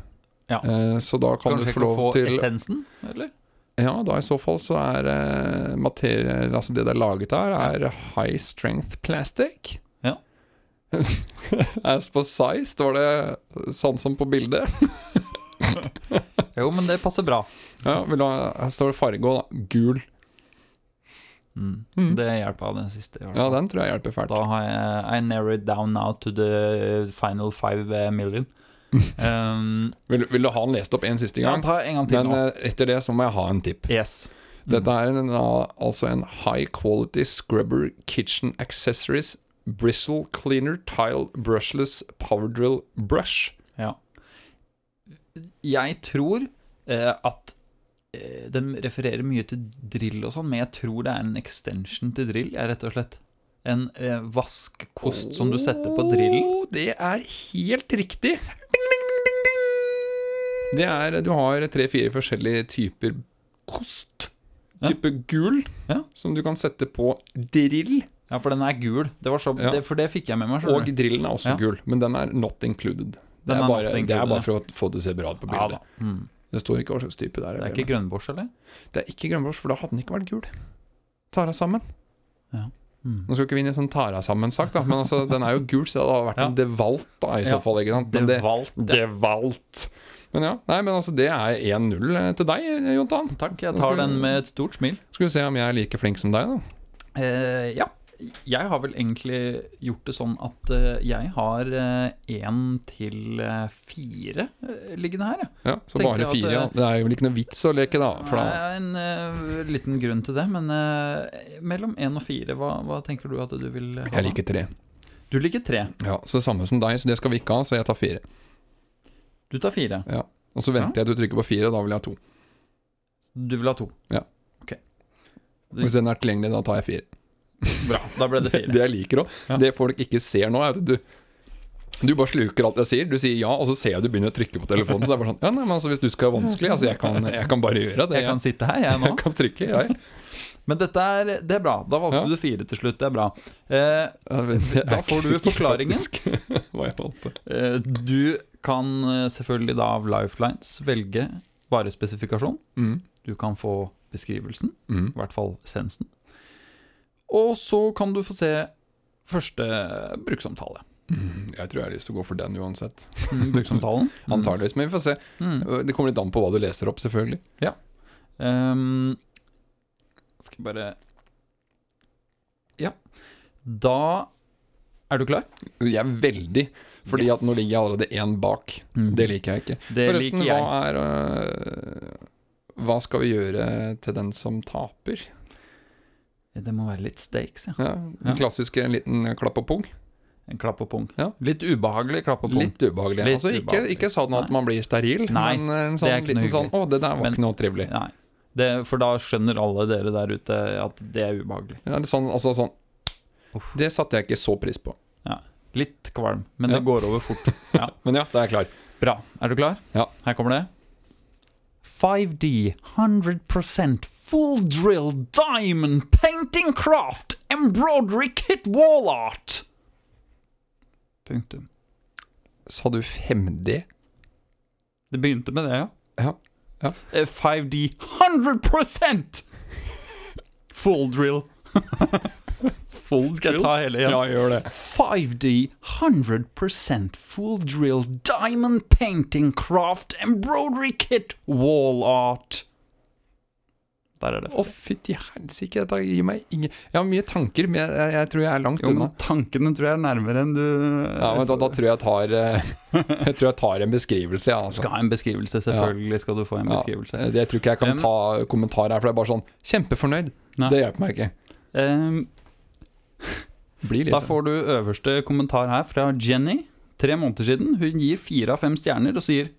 Speaker 1: Ja.
Speaker 2: Eh, Så da kan
Speaker 1: kanskje
Speaker 2: du
Speaker 1: jeg
Speaker 2: få
Speaker 1: kan
Speaker 2: lov
Speaker 1: få
Speaker 2: til
Speaker 1: essensen, eller?
Speaker 2: Ja, da i så fall så er eh, materie, altså det det er laget av, er high strength plastic.
Speaker 1: Ja.
Speaker 2: As på size står det sånn som på bildet.
Speaker 1: Jo, men det passer bra.
Speaker 2: Ja, vil du ha, her står det farge òg, da. Gul.
Speaker 1: Mm.
Speaker 2: Mm.
Speaker 1: Det hjelper av den siste. i hvert
Speaker 2: Ja,
Speaker 1: fall.
Speaker 2: den tror jeg hjelper fælt.
Speaker 1: Da har jeg I narrowed down now to the final five eh, million. Um,
Speaker 2: Vil, vil du ha den lest opp en siste
Speaker 1: ja,
Speaker 2: gang?
Speaker 1: ta en gang til
Speaker 2: Men
Speaker 1: nå.
Speaker 2: eh, etter det så må jeg ha en tipp.
Speaker 1: Yes.
Speaker 2: Dette er en, da, altså en high quality scrubber kitchen accessories bristle cleaner tile brushless power drill brush.
Speaker 1: Ja. Jeg tror eh, at eh, de refererer mye til drill og sånn, men jeg tror det er en extension til drill, ja, rett og slett. En eh, vaskkost som du setter på drillen.
Speaker 2: Åh, Det er helt riktig. Det er, du har tre-fire forskjellige typer kost.
Speaker 1: Ja.
Speaker 2: Type gul,
Speaker 1: Ja.
Speaker 2: som du kan sette på drill.
Speaker 1: Ja, for den er gul. Det var så,
Speaker 2: Ja.
Speaker 1: det, for det fikk jeg med meg. skjønner
Speaker 2: Og
Speaker 1: du.
Speaker 2: drillen er også
Speaker 1: Ja.
Speaker 2: gul, men den er not included. Det
Speaker 1: Den
Speaker 2: er,
Speaker 1: er
Speaker 2: bare,
Speaker 1: not included,
Speaker 2: det er bare for å få det til å se bra ut på
Speaker 1: ja,
Speaker 2: bildet.
Speaker 1: da. Mm.
Speaker 2: det står ikke hva slags type det er.
Speaker 1: Det er ikke grønnbors, eller?
Speaker 2: Det er ikke grønnblås, for da hadde den ikke vært gul. Tara sammen.
Speaker 1: Ja. Mm.
Speaker 2: Nå skal ikke vi inn i sånn Tara sammen-sak, da, men altså, den er jo gul, så det hadde vært en devalt da, i så
Speaker 1: Ja.
Speaker 2: fall. ikke sant? Men
Speaker 1: Det
Speaker 2: det,
Speaker 1: valgte
Speaker 2: Devalt. Men ja, nei, men altså, det er 1-0 til deg, Jontan.
Speaker 1: Takk, jeg
Speaker 2: Da
Speaker 1: tar
Speaker 2: skal-
Speaker 1: den med et stort smil.
Speaker 2: Skal vi se om jeg er like flink som deg, da.
Speaker 1: Eh, ja. Jeg har vel egentlig gjort det sånn at eh, jeg har én til eh, fire eh, liggende her, ja.
Speaker 2: Ja, Så
Speaker 1: Tenker
Speaker 2: bare
Speaker 1: jeg at
Speaker 2: fire.
Speaker 1: det-
Speaker 2: ja. Det er jo vel ikke noe vits å leke, da. For
Speaker 1: Det
Speaker 2: da
Speaker 1: er en eh, liten grunn til det, men eh, mellom én og fire, hva, hva tenker du at du vil ha? da?
Speaker 2: jeg liker tre.
Speaker 1: Du liker tre.
Speaker 2: Ja, Så samme som deg, så det skal vi ikke ha, så jeg tar fire.
Speaker 1: Du tar fire.
Speaker 2: Ja. Og så venter jeg til du trykker på fire, da vil jeg ha to.
Speaker 1: Du vil ha to.
Speaker 2: Hvis den er tilgjengelig, da tar jeg fire.
Speaker 1: Bra, da ble det fire.
Speaker 2: Det jeg liker òg,
Speaker 1: Ja.
Speaker 2: det folk ikke ser nå, er at du du bare sluker alt jeg sier. Du sier ja, og så ser jeg du begynner å trykke på telefonen. Så det er bare sånn Ja, nei, men altså, hvis du skal være vanskelig, altså, jeg kan, jeg kan bare gjøre det.
Speaker 1: Jeg kan sitte her, jeg nå.
Speaker 2: jeg kan trykke, jeg.
Speaker 1: Men dette er, det er bra. Da valgte
Speaker 2: Ja.
Speaker 1: du fire til slutt. Det er bra. Eh, Da får du forklaringen.
Speaker 2: Hva jeg valgte.
Speaker 1: eh, du kan eh, selvfølgelig da av Lifelines velge varespesifikasjon.
Speaker 2: Mm,
Speaker 1: Du kan få beskrivelsen,
Speaker 2: mm,
Speaker 1: i hvert fall essensen. Og så kan du få se første bruksomtale.
Speaker 2: mm. Jeg tror jeg har lyst til å gå for den uansett.
Speaker 1: Mm, Bruksomtalen.
Speaker 2: Antageligvis, men vi får se.
Speaker 1: Mm.
Speaker 2: Det kommer litt an på hva du leser opp, selvfølgelig.
Speaker 1: Ehm, skal jeg bare Ja. Da er du klar?
Speaker 2: Jeg er veldig Fordi
Speaker 1: Yes.
Speaker 2: at nå ligger jeg allerede én bak. Mm, Det liker jeg ikke.
Speaker 1: Det
Speaker 2: Forresten,
Speaker 1: liker jeg.
Speaker 2: hva er øh, Hva skal vi gjøre til den som taper?
Speaker 1: Det må være litt stakes, ja.
Speaker 2: Ja,
Speaker 1: Ja.
Speaker 2: den klassiske en liten klapp og pung.
Speaker 1: En klapp og pung.
Speaker 2: Ja.
Speaker 1: Litt ubehagelig klapp og pung.
Speaker 2: Litt ubehagelig.
Speaker 1: Litt
Speaker 2: altså, ikke,
Speaker 1: ubehagelig.
Speaker 2: ikke sånn at man blir steril,
Speaker 1: Nei,
Speaker 2: men en
Speaker 1: det er
Speaker 2: sånn
Speaker 1: ikke noe
Speaker 2: liten sånn
Speaker 1: hyggelig.
Speaker 2: 'Å, det der var
Speaker 1: Men-
Speaker 2: ikke noe trivelig'.
Speaker 1: Nei. Det, for da skjønner alle dere der ute at det er ubehagelig.
Speaker 2: Ja, det er sånn, altså sånn
Speaker 1: Uff.
Speaker 2: Det satte jeg ikke så pris på.
Speaker 1: Litt kvalm, men
Speaker 2: Ja.
Speaker 1: det går over fort.
Speaker 2: Men ja, da er jeg klar.
Speaker 1: Bra. Er du klar?
Speaker 2: Ja.
Speaker 1: Her kommer det. 5D 100% full drill diamond painting craft embroidery kit wall art. Punktum.
Speaker 2: Sa du 5D?
Speaker 1: Det begynte med det, ja.
Speaker 2: Ja. ja.
Speaker 1: Eh, 5D 100% full drill.
Speaker 2: Full
Speaker 1: Skal jeg ta hele igjen?
Speaker 2: Ja, gjør det.
Speaker 1: 5D 100% full drill diamond painting craft embroidery kit wall art. Der er det.
Speaker 2: Å, fytti helsike, dette gir meg ingen Jeg har mye tanker, men jeg, jeg, jeg tror jeg er langt
Speaker 1: Jo,
Speaker 2: unna.
Speaker 1: men tankene tror jeg er nærmere enn du
Speaker 2: Ja, men da, da tror jeg jeg tar eh, Jeg tror jeg tar en beskrivelse, ja, altså.
Speaker 1: skal ha en beskrivelse, selvfølgelig skal du få en
Speaker 2: Ja,
Speaker 1: beskrivelse.
Speaker 2: eh, det- jeg tror ikke jeg
Speaker 1: Um,
Speaker 2: kan ta kommentar her, for det er bare sånn Kjempefornøyd.
Speaker 1: Nei.
Speaker 2: Det hjelper meg ikke.
Speaker 1: Ehm,
Speaker 2: Blir litt
Speaker 1: da får du øverste kommentar her fra Jenny, tre måneder siden. Hun gir fire av fem stjerner og sier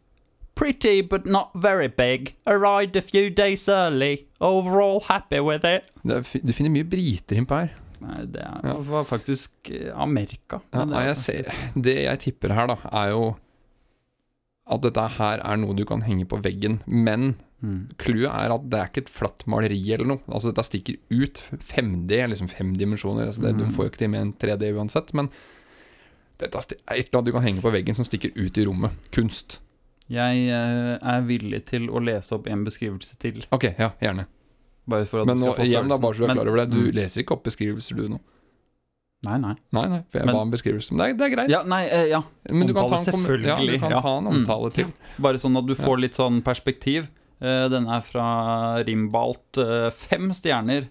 Speaker 1: Pretty but not very big. Arrived a few days early. Overall happy with it.
Speaker 2: Det er fi- Du finner mye briter innpå her.
Speaker 1: Nei, det er,
Speaker 2: Ja.
Speaker 1: var faktisk eh, Amerika.
Speaker 2: Ja, ah,
Speaker 1: Men det
Speaker 2: nei,
Speaker 1: er-
Speaker 2: jeg ser, det jeg tipper her, da, er jo at dette her er noe du kan henge på veggen. Men
Speaker 1: Mm.
Speaker 2: clouet er at det er ikke et flatt maleri eller noe. Altså Dette stikker ut. 5D er liksom fem dimensjoner. Altså, det, Du
Speaker 1: Mm.
Speaker 2: får jo ikke til med en 3D uansett. Men dette sti- er et eller annet du kan henge på veggen som stikker ut i rommet. Kunst.
Speaker 1: Jeg eh, er villig til å lese opp en beskrivelse til.
Speaker 2: Ok, ja, gjerne.
Speaker 1: Bare for at
Speaker 2: Men
Speaker 1: du
Speaker 2: nå,
Speaker 1: skal få
Speaker 2: igjen da,
Speaker 1: følelsen.
Speaker 2: bare så du er
Speaker 1: Men-
Speaker 2: klar over det. Du
Speaker 1: Mm.
Speaker 2: leser ikke opp beskrivelser du nå.
Speaker 1: Nei, nei.
Speaker 2: Nei, nei, for jeg
Speaker 1: Men-
Speaker 2: ba om beskrivelse. Men det er, det er greit.
Speaker 1: Ja, nei, eh, ja.
Speaker 2: Men du kan, ta
Speaker 1: omtale,
Speaker 2: en, kom- ja, du
Speaker 1: selvfølgelig,
Speaker 2: kan
Speaker 1: ja.
Speaker 2: ta en
Speaker 1: Mm.
Speaker 2: omtale til.
Speaker 1: Bare sånn at du
Speaker 2: Ja.
Speaker 1: får litt sånn perspektiv. Eh, Den er fra Rimbalt. eh, Fem stjerner.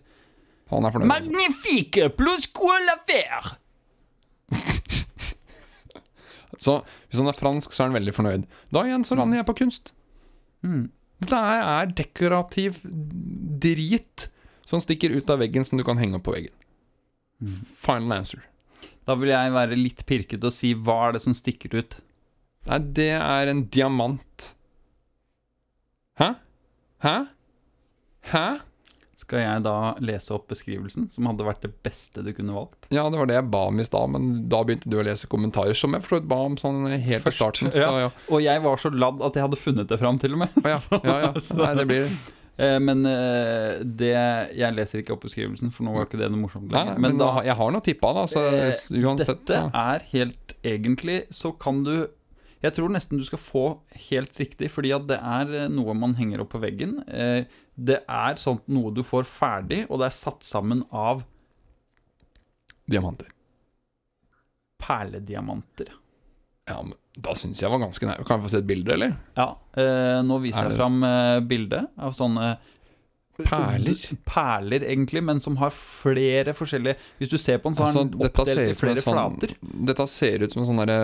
Speaker 2: Han er fornøyd. altså.
Speaker 1: Magnifique plus cola faire!
Speaker 2: Så hvis han er fransk, så er han veldig fornøyd. Da igjen så lander jeg på kunst.
Speaker 1: Mm.
Speaker 2: Dette her er dekorativ drit som stikker ut av veggen, som du kan henge opp på veggen.
Speaker 1: Mm.
Speaker 2: Final answer.
Speaker 1: Da vil jeg være litt pirket og si hva er det som stikker ut.
Speaker 2: Nei, det er en diamant. Hæ? Hæ? Hæ?
Speaker 1: Skal jeg da lese opp beskrivelsen, som hadde vært det beste du kunne valgt?
Speaker 2: Ja, det var det jeg ba om i stad, men da begynte du å lese kommentarer, som jeg for så vidt ba om sånn helt i
Speaker 1: Først,
Speaker 2: starten. Så,
Speaker 1: ja.
Speaker 2: ja.
Speaker 1: Og jeg var så ladd at jeg hadde funnet det fram, til og med.
Speaker 2: Å ja, ja, ja. Nei, det blir
Speaker 1: Eh, Men eh, det Jeg leser ikke opp beskrivelsen, for nå var ikke det noe morsomt.
Speaker 2: Nei,
Speaker 1: lenger.
Speaker 2: men, da, jeg har nå tippa, da, så
Speaker 1: Eh,
Speaker 2: uansett
Speaker 1: Dette
Speaker 2: så.
Speaker 1: er helt egentlig Så kan du Jeg tror nesten du skal få helt riktig, fordi at det er eh, noe man henger opp på veggen. Eh, Det er sånt noe du får ferdig, og det er satt sammen av
Speaker 2: Diamanter.
Speaker 1: perlediamanter.
Speaker 2: Ja, men da syns jeg var ganske nær. Kan jeg få se et bilde, eller?
Speaker 1: Ja, eh, nå viser
Speaker 2: Er
Speaker 1: jeg
Speaker 2: det-
Speaker 1: fram eh, bildet av sånne
Speaker 2: Perler?
Speaker 1: d- Perler, egentlig, men som har flere forskjellige Hvis du ser på den, så har
Speaker 2: Altså,
Speaker 1: den
Speaker 2: dette ser
Speaker 1: oppdelt i
Speaker 2: ut som en
Speaker 1: flere
Speaker 2: sånn-
Speaker 1: flater.
Speaker 2: Dette ser ut som en sånn derre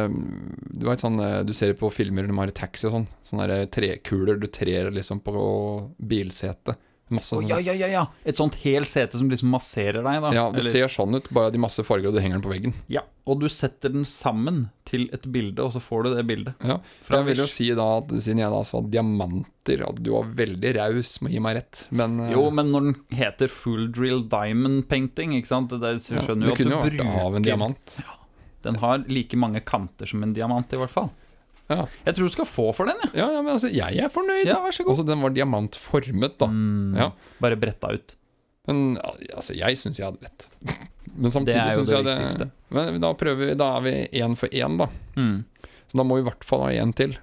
Speaker 2: Du vet sånn eh, Du ser på filmer når de har i taxi og sånn. Sånne derre trekuler du trer liksom på bilsetet. Masse sånn
Speaker 1: Å,
Speaker 2: sånne.
Speaker 1: ja, ja, ja, ja! Et sånt hel sete som liksom masserer deg, da.
Speaker 2: ja, det
Speaker 1: Eller-
Speaker 2: ser sånn ut, bare de masse farger, og du henger den på veggen.
Speaker 1: ja. Og du setter den sammen til et bilde, og så får du det bildet.
Speaker 2: Ja.
Speaker 1: Fra
Speaker 2: jeg vil jo
Speaker 1: Wish.
Speaker 2: si da, at siden jeg da sa diamanter, at du var veldig raus med å gi meg rett, men eh,
Speaker 1: Jo, men når den heter Full Drill Diamond Painting, ikke sant Det der, så
Speaker 2: ja,
Speaker 1: skjønner jo
Speaker 2: det
Speaker 1: at du
Speaker 2: kunne jo vært
Speaker 1: bruker
Speaker 2: av en diamant.
Speaker 1: Den har like mange kanter som en diamant, i hvert fall.
Speaker 2: Ja.
Speaker 1: Jeg tror du skal få for den, jeg.
Speaker 2: Ja, ja, men altså, jeg er fornøyd.
Speaker 1: Ja, vær så god.
Speaker 2: Altså, den var diamantformet, da.
Speaker 1: Mm,
Speaker 2: Ja.
Speaker 1: Bare bretta ut.
Speaker 2: Men al- altså, jeg syns jeg hadde rett. Men
Speaker 1: Det
Speaker 2: samtidig
Speaker 1: er jo
Speaker 2: syns
Speaker 1: det
Speaker 2: jeg det
Speaker 1: viktigste.
Speaker 2: Men da prøver vi, da er vi én for én, da.
Speaker 1: Mm.
Speaker 2: Så da må vi i hvert fall ha én til.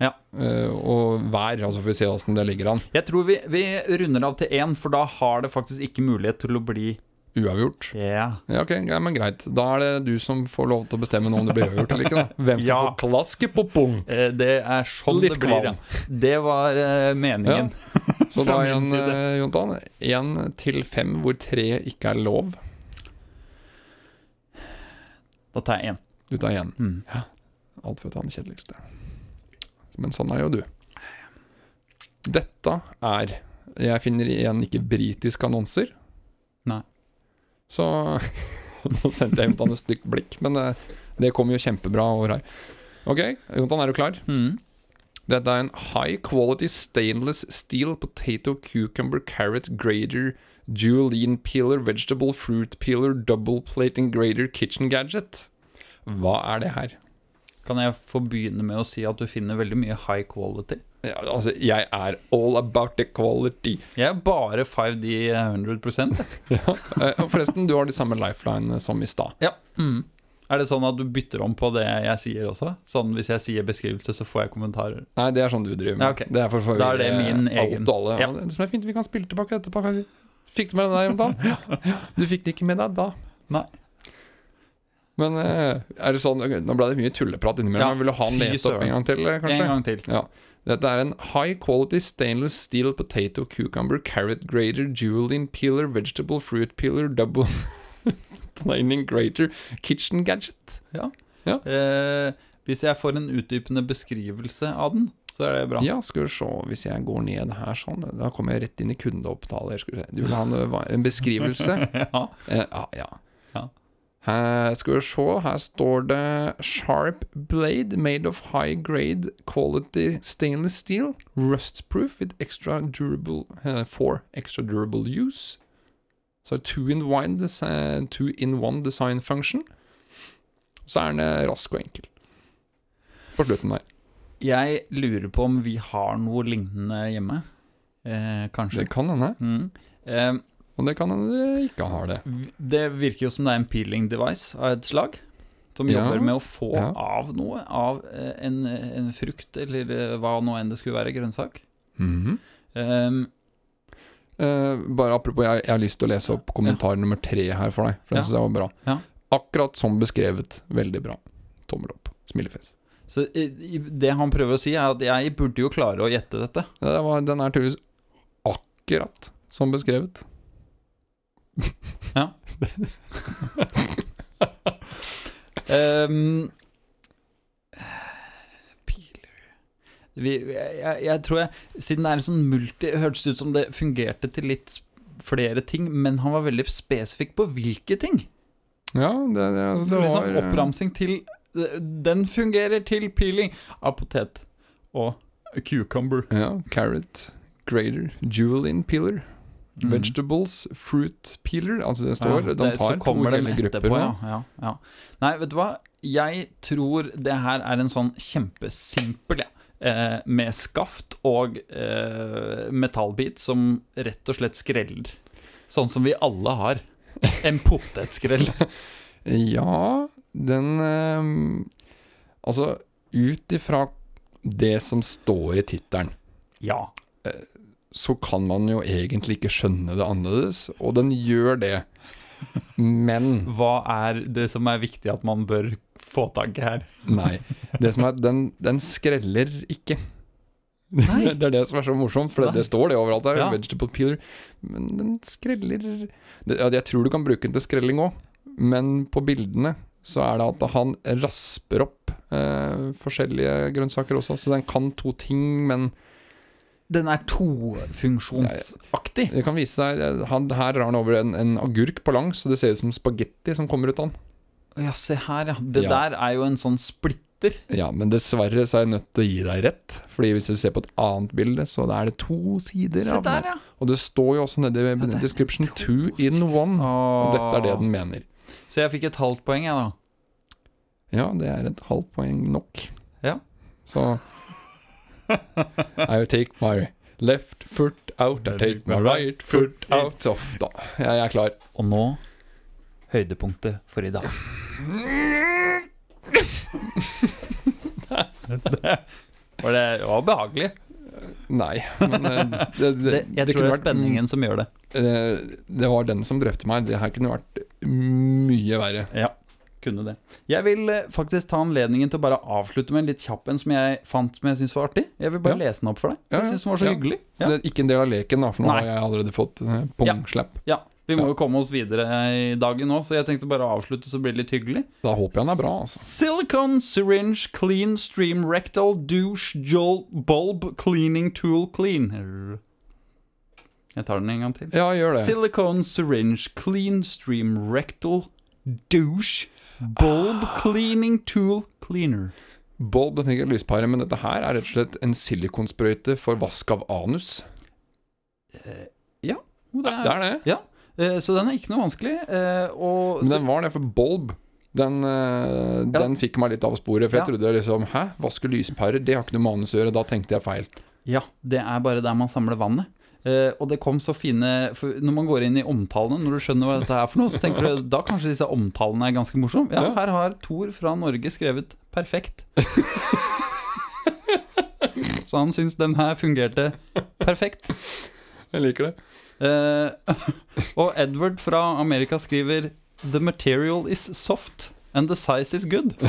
Speaker 1: Ja.
Speaker 2: Eh, og hver, altså får vi se åssen det ligger an.
Speaker 1: Jeg tror vi, vi runder av til én, for da har det faktisk ikke mulighet til å bli
Speaker 2: Uavgjort.
Speaker 1: Ja.
Speaker 2: Ja, ok, ja, men greit. Da er det du som får lov til å bestemme nå om det blir uavgjort eller ikke. da Hvem som
Speaker 1: Ja.
Speaker 2: får klaske på bong.
Speaker 1: Eh, Det er sånn
Speaker 2: Litt
Speaker 1: det blir. Ja.
Speaker 2: kvalm.
Speaker 1: Det var eh, meningen.
Speaker 2: Så da
Speaker 1: Fra min
Speaker 2: igjen,
Speaker 1: side.
Speaker 2: eh, Jontan, én til fem hvor tre ikke er lov.
Speaker 1: Da tar jeg én.
Speaker 2: Du tar én.
Speaker 1: Mm.
Speaker 2: Alt for å ta den kjedeligste. Men sånn er jo du. Dette er Jeg finner igjen ikke britiske annonser.
Speaker 1: Nei.
Speaker 2: Så Nå sendte jeg Jontan et stygt blikk, men det, det kom jo kjempebra over her. Ok, Jontan, er du klar?
Speaker 1: Mm.
Speaker 2: Dette er en high quality stainless steel potato cucumber carrot grater julienne peeler vegetable fruit peeler double plating grater kitchen gadget. Hva er det her?
Speaker 1: Kan jeg få begynne med å si at du finner veldig mye high quality?
Speaker 2: Ja, altså, jeg er all about the quality.
Speaker 1: Jeg er bare 5D 100
Speaker 2: Eh, og forresten, du har de samme lifeline som i stad.
Speaker 1: Ja. Mm. Er det sånn at du bytter om på det jeg sier også? Sånn Hvis jeg sier beskrivelse, så får jeg kommentarer?
Speaker 2: Nei, det er sånn du driver med.
Speaker 1: Ja, ok.
Speaker 2: Det er for å
Speaker 1: Da er det
Speaker 2: forvirre
Speaker 1: min
Speaker 2: alt
Speaker 1: egen.
Speaker 2: og alle.
Speaker 1: Ja.
Speaker 2: Og Det som er fint, vi kan spille tilbake etterpå. kanskje. Fikk du med deg det, Jontan? Ja. Du fikk det ikke med deg da.
Speaker 1: Nei.
Speaker 2: Men eh, er det sånn ok, Nå ble det mye tulleprat innimellom.
Speaker 1: Ja,
Speaker 2: men Vil du ha den
Speaker 1: fy
Speaker 2: lest opp
Speaker 1: søren.
Speaker 2: en gang til, eh, kanskje?
Speaker 1: En gang til.
Speaker 2: Ja. Dette er en high quality stainless steel potato cucumber carrot grater julienne peeler vegetable fruit peeler double planing grater kitchen gadget.
Speaker 1: Eh, hvis jeg får en utdypende beskrivelse av den, så er det bra.
Speaker 2: Ja, skal vi se Hvis jeg går ned her sånn, da kommer jeg rett inn i kundeopptaler. Skal vi se. Du vil ha en, eh, va- en beskrivelse?
Speaker 1: Ja.
Speaker 2: Eh, ja, ja.
Speaker 1: Ja.
Speaker 2: Her skal vi se, her står det Sharp blade made of high grade quality stainless steel. Rust proof with extra durable eh, for extra durable use. Så two in one, desi- two in one design function. Så er den eh, rask og enkel. På slutten der.
Speaker 1: Jeg lurer på om vi har noe lignende hjemme. Eh, kanskje.
Speaker 2: Det kan hende,
Speaker 1: Mm. Eh,
Speaker 2: og det kan hende det ikke har det.
Speaker 1: v- det virker jo som det er en peeling device av et slag. Som
Speaker 2: Ja.
Speaker 1: jobber med å få
Speaker 2: Ja.
Speaker 1: av noe. Av eh, en, en frukt eller eh, hva nå enn det skulle være. Grønnsak.
Speaker 2: Mhm.
Speaker 1: Um,
Speaker 2: Eh, bare apropos, jeg, jeg har lyst til å lese opp kommentar nummer tre her for deg. For den
Speaker 1: Ja.
Speaker 2: synes jeg var bra.
Speaker 1: Ja.
Speaker 2: Akkurat som beskrevet. Veldig bra. Tommel opp. Smilefjes.
Speaker 1: så eh, i- det han prøver å si, er at jeg burde jo klare å gjette dette.
Speaker 2: Ja, det var- Den er tydeligvis akkurat som beskrevet.
Speaker 1: Ja. um, piler vi, jeg, jeg tror jeg Siden det er en sånn multi Hørtes det ut som det fungerte til litt flere ting, men han var veldig spesifikk på hvilke ting.
Speaker 2: Ja, det, det, altså, det var
Speaker 1: liksom oppramsing til Den fungerer til peeling av potet og cucumber.
Speaker 2: Ja, Carrot, grater, julienne peeler,
Speaker 1: Mm.
Speaker 2: vegetables, fruit peeler. Altså, det står De
Speaker 1: det-
Speaker 2: tar
Speaker 1: så kommer
Speaker 2: to
Speaker 1: de
Speaker 2: hele grupper.
Speaker 1: etterpå,
Speaker 2: nå.
Speaker 1: ja, ja, ja. Nei, vet du hva? Jeg tror det her er en sånn kjempesimpel, jeg. Eh, med skaft og eh, metallbit som rett og slett skreller. Sånn som vi alle har. En potetskrell.
Speaker 2: Ja, den ehm, Altså, ut ifra det som står i tittelen,
Speaker 1: Ja.
Speaker 2: så kan man jo egentlig ikke skjønne det annerledes, og den gjør det. Men
Speaker 1: Hva er det som er viktig at man bør få tak i her?
Speaker 2: nei. Det som er, den, den skreller ikke.
Speaker 1: Nei.
Speaker 2: Det er det som er så morsomt, for det,
Speaker 1: Nei.
Speaker 2: det står det overalt der.
Speaker 1: Ja.
Speaker 2: Vegetable peeler. Men den skreller det, ja, Jeg tror du kan bruke den til skrelling òg, men på bildene så er det at han rasper opp eh, forskjellige grønnsaker også. Så den kan to ting, men
Speaker 1: Den er tofunksjonsaktig.
Speaker 2: Jeg kan vise deg eh, han, Her drar han over en, en agurk på langs, så det ser ut som spagetti som kommer ut av den.
Speaker 1: Ja, se her, ja. Det
Speaker 2: Ja.
Speaker 1: der er jo en sånn splitter.
Speaker 2: Ja, men dessverre så er jeg nødt til å gi deg rett. Fordi hvis du ser på et annet bilde, så er det to sider.
Speaker 1: Se
Speaker 2: av den her.
Speaker 1: der, ja.
Speaker 2: Og det står jo også nede i
Speaker 1: det er Ah.
Speaker 2: description 'two in one'. Og dette er det den mener.
Speaker 1: Så jeg fikk et halvt poeng, jeg, da.
Speaker 2: Ja, det er et halvt poeng nok.
Speaker 1: Ja.
Speaker 2: Så I will take my left foot out, I take my right foot out. Så, f- da, jeg er klar.
Speaker 1: Og nå høydepunktet for i dag. det, var det det var behagelig.
Speaker 2: Nei, men eh, det, det,
Speaker 1: Det, jeg tror det er spenningen som gjør det.
Speaker 2: eh, Det var den som drepte meg. Det her kunne vært mye verre.
Speaker 1: Ja, kunne det. Jeg vil eh, faktisk ta anledningen til å bare avslutte med en litt kjapp en som jeg fant som jeg syns var artig. Jeg vil bare
Speaker 2: Ja.
Speaker 1: lese den opp for deg.
Speaker 2: Ja, ja,
Speaker 1: Jeg syns den var så
Speaker 2: ja.
Speaker 1: hyggelig.
Speaker 2: Så det er ikke en del av leken, da, for nå
Speaker 1: Nei.
Speaker 2: har jeg allerede fått eh, pungslepp.
Speaker 1: Ja, Vi må
Speaker 2: Ja.
Speaker 1: jo komme oss videre eh, i dagen nå, så jeg tenkte bare å avslutte så blir det litt hyggelig.
Speaker 2: Da håper jeg den er bra, altså.
Speaker 1: Silicon syringe clean stream rectal douche jol bulb cleaning tool cleaner. Jeg tar den en gang til.
Speaker 2: Ja, gjør det.
Speaker 1: Silicone syringe clean stream rectal douche bulb
Speaker 2: Ah.
Speaker 1: cleaning tool cleaner.
Speaker 2: Bob, jeg tenker lyspære, men dette her er rett og slett en silikonsprøyte for vask av anus.
Speaker 1: Jo, det
Speaker 2: Det
Speaker 1: er,
Speaker 2: er det.
Speaker 1: ja. eh, Så den er ikke noe vanskelig. eh, Og
Speaker 2: Men
Speaker 1: så,
Speaker 2: den var det, for Bulb den,
Speaker 1: Ja.
Speaker 2: eh, den fikk meg litt av sporet. For jeg
Speaker 1: Ja.
Speaker 2: trodde liksom Hæ, vaske lyspærer? Det har ikke noe med anus å gjøre. Da tenkte jeg feil.
Speaker 1: ja, det er bare der man samler vannet. Eh, og det kom så fine for Når man går inn i omtalene, når du skjønner hva dette er for noe, så tenker du da kanskje disse omtalene er ganske morsomme. Ja,
Speaker 2: Ja.
Speaker 1: her har Thor fra Norge skrevet 'perfekt'. så han syns den her fungerte perfekt.
Speaker 2: Jeg liker det.
Speaker 1: Eh, og Edward fra Amerika skriver The material is soft and the size is good.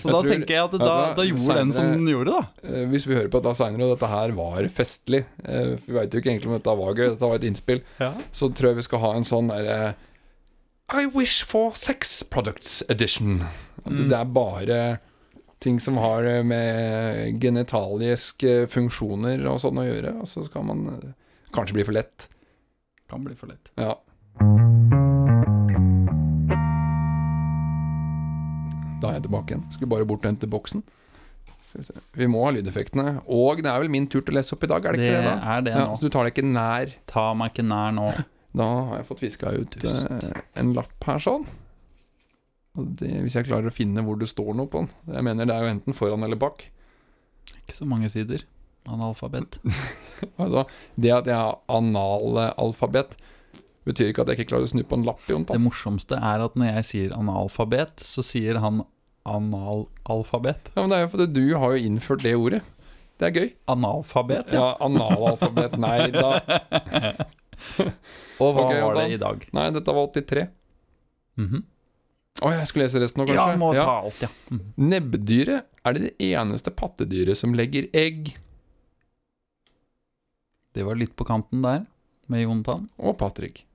Speaker 1: Så
Speaker 2: Jeg
Speaker 1: da
Speaker 2: tror-
Speaker 1: tenker jeg at da,
Speaker 2: Ja, da-
Speaker 1: da gjorde den som den gjorde, da.
Speaker 2: Eh, Hvis vi hører på dette seinere, og dette her var festlig eh, for Vi veit jo ikke egentlig om dette var gøy, dette var et innspill. Så tror jeg vi skal ha en sånn derre I wish for sex products edition. At Det er bare ting som har eh, med genitaliske funksjoner og sånn å gjøre. Og så skal man eh, kanskje bli for lett.
Speaker 1: Kan bli for lett.
Speaker 2: Ja. Da er jeg tilbake igjen. Skulle bare bort og hente boksen. Skal vi se. Vi må ha lydeffektene. Og det er vel min tur til å lese opp i dag, er det
Speaker 1: Det
Speaker 2: ikke det? da?
Speaker 1: er det
Speaker 2: Ja,
Speaker 1: nå.
Speaker 2: så du tar det ikke nær.
Speaker 1: Ta meg ikke nær nå.
Speaker 2: Da har jeg fått viska ut eh, en lapp her sånn. Og det, hvis jeg klarer å finne hvor det står noe på den. Jeg mener det er jo enten foran eller bak.
Speaker 1: Ikke så mange sider. Analfabet.
Speaker 2: Altså, det at jeg er analalfabet, betyr ikke at jeg ikke klarer å snu på en lapp. Jontan.
Speaker 1: Det morsomste er at når jeg sier analfabet, så sier han analalfabet.
Speaker 2: Ja, men det er jo fordi du har jo innført det ordet. Det er gøy.
Speaker 1: Analfabet, ja.
Speaker 2: Ja, analalfabet. Nei da.
Speaker 1: Og hva
Speaker 2: Ok,
Speaker 1: var det
Speaker 2: Jonathan.
Speaker 1: i dag?
Speaker 2: Nei, dette var 83.
Speaker 1: Mhm.
Speaker 2: Å, jeg skulle lese resten nå,
Speaker 1: Ja,
Speaker 2: kanskje?
Speaker 1: må ta alt, ja. Mhm.
Speaker 2: Nebbdyret er det eneste pattedyret som legger egg.
Speaker 1: Det var litt på kanten der, med Jontan.
Speaker 2: Og Patrick.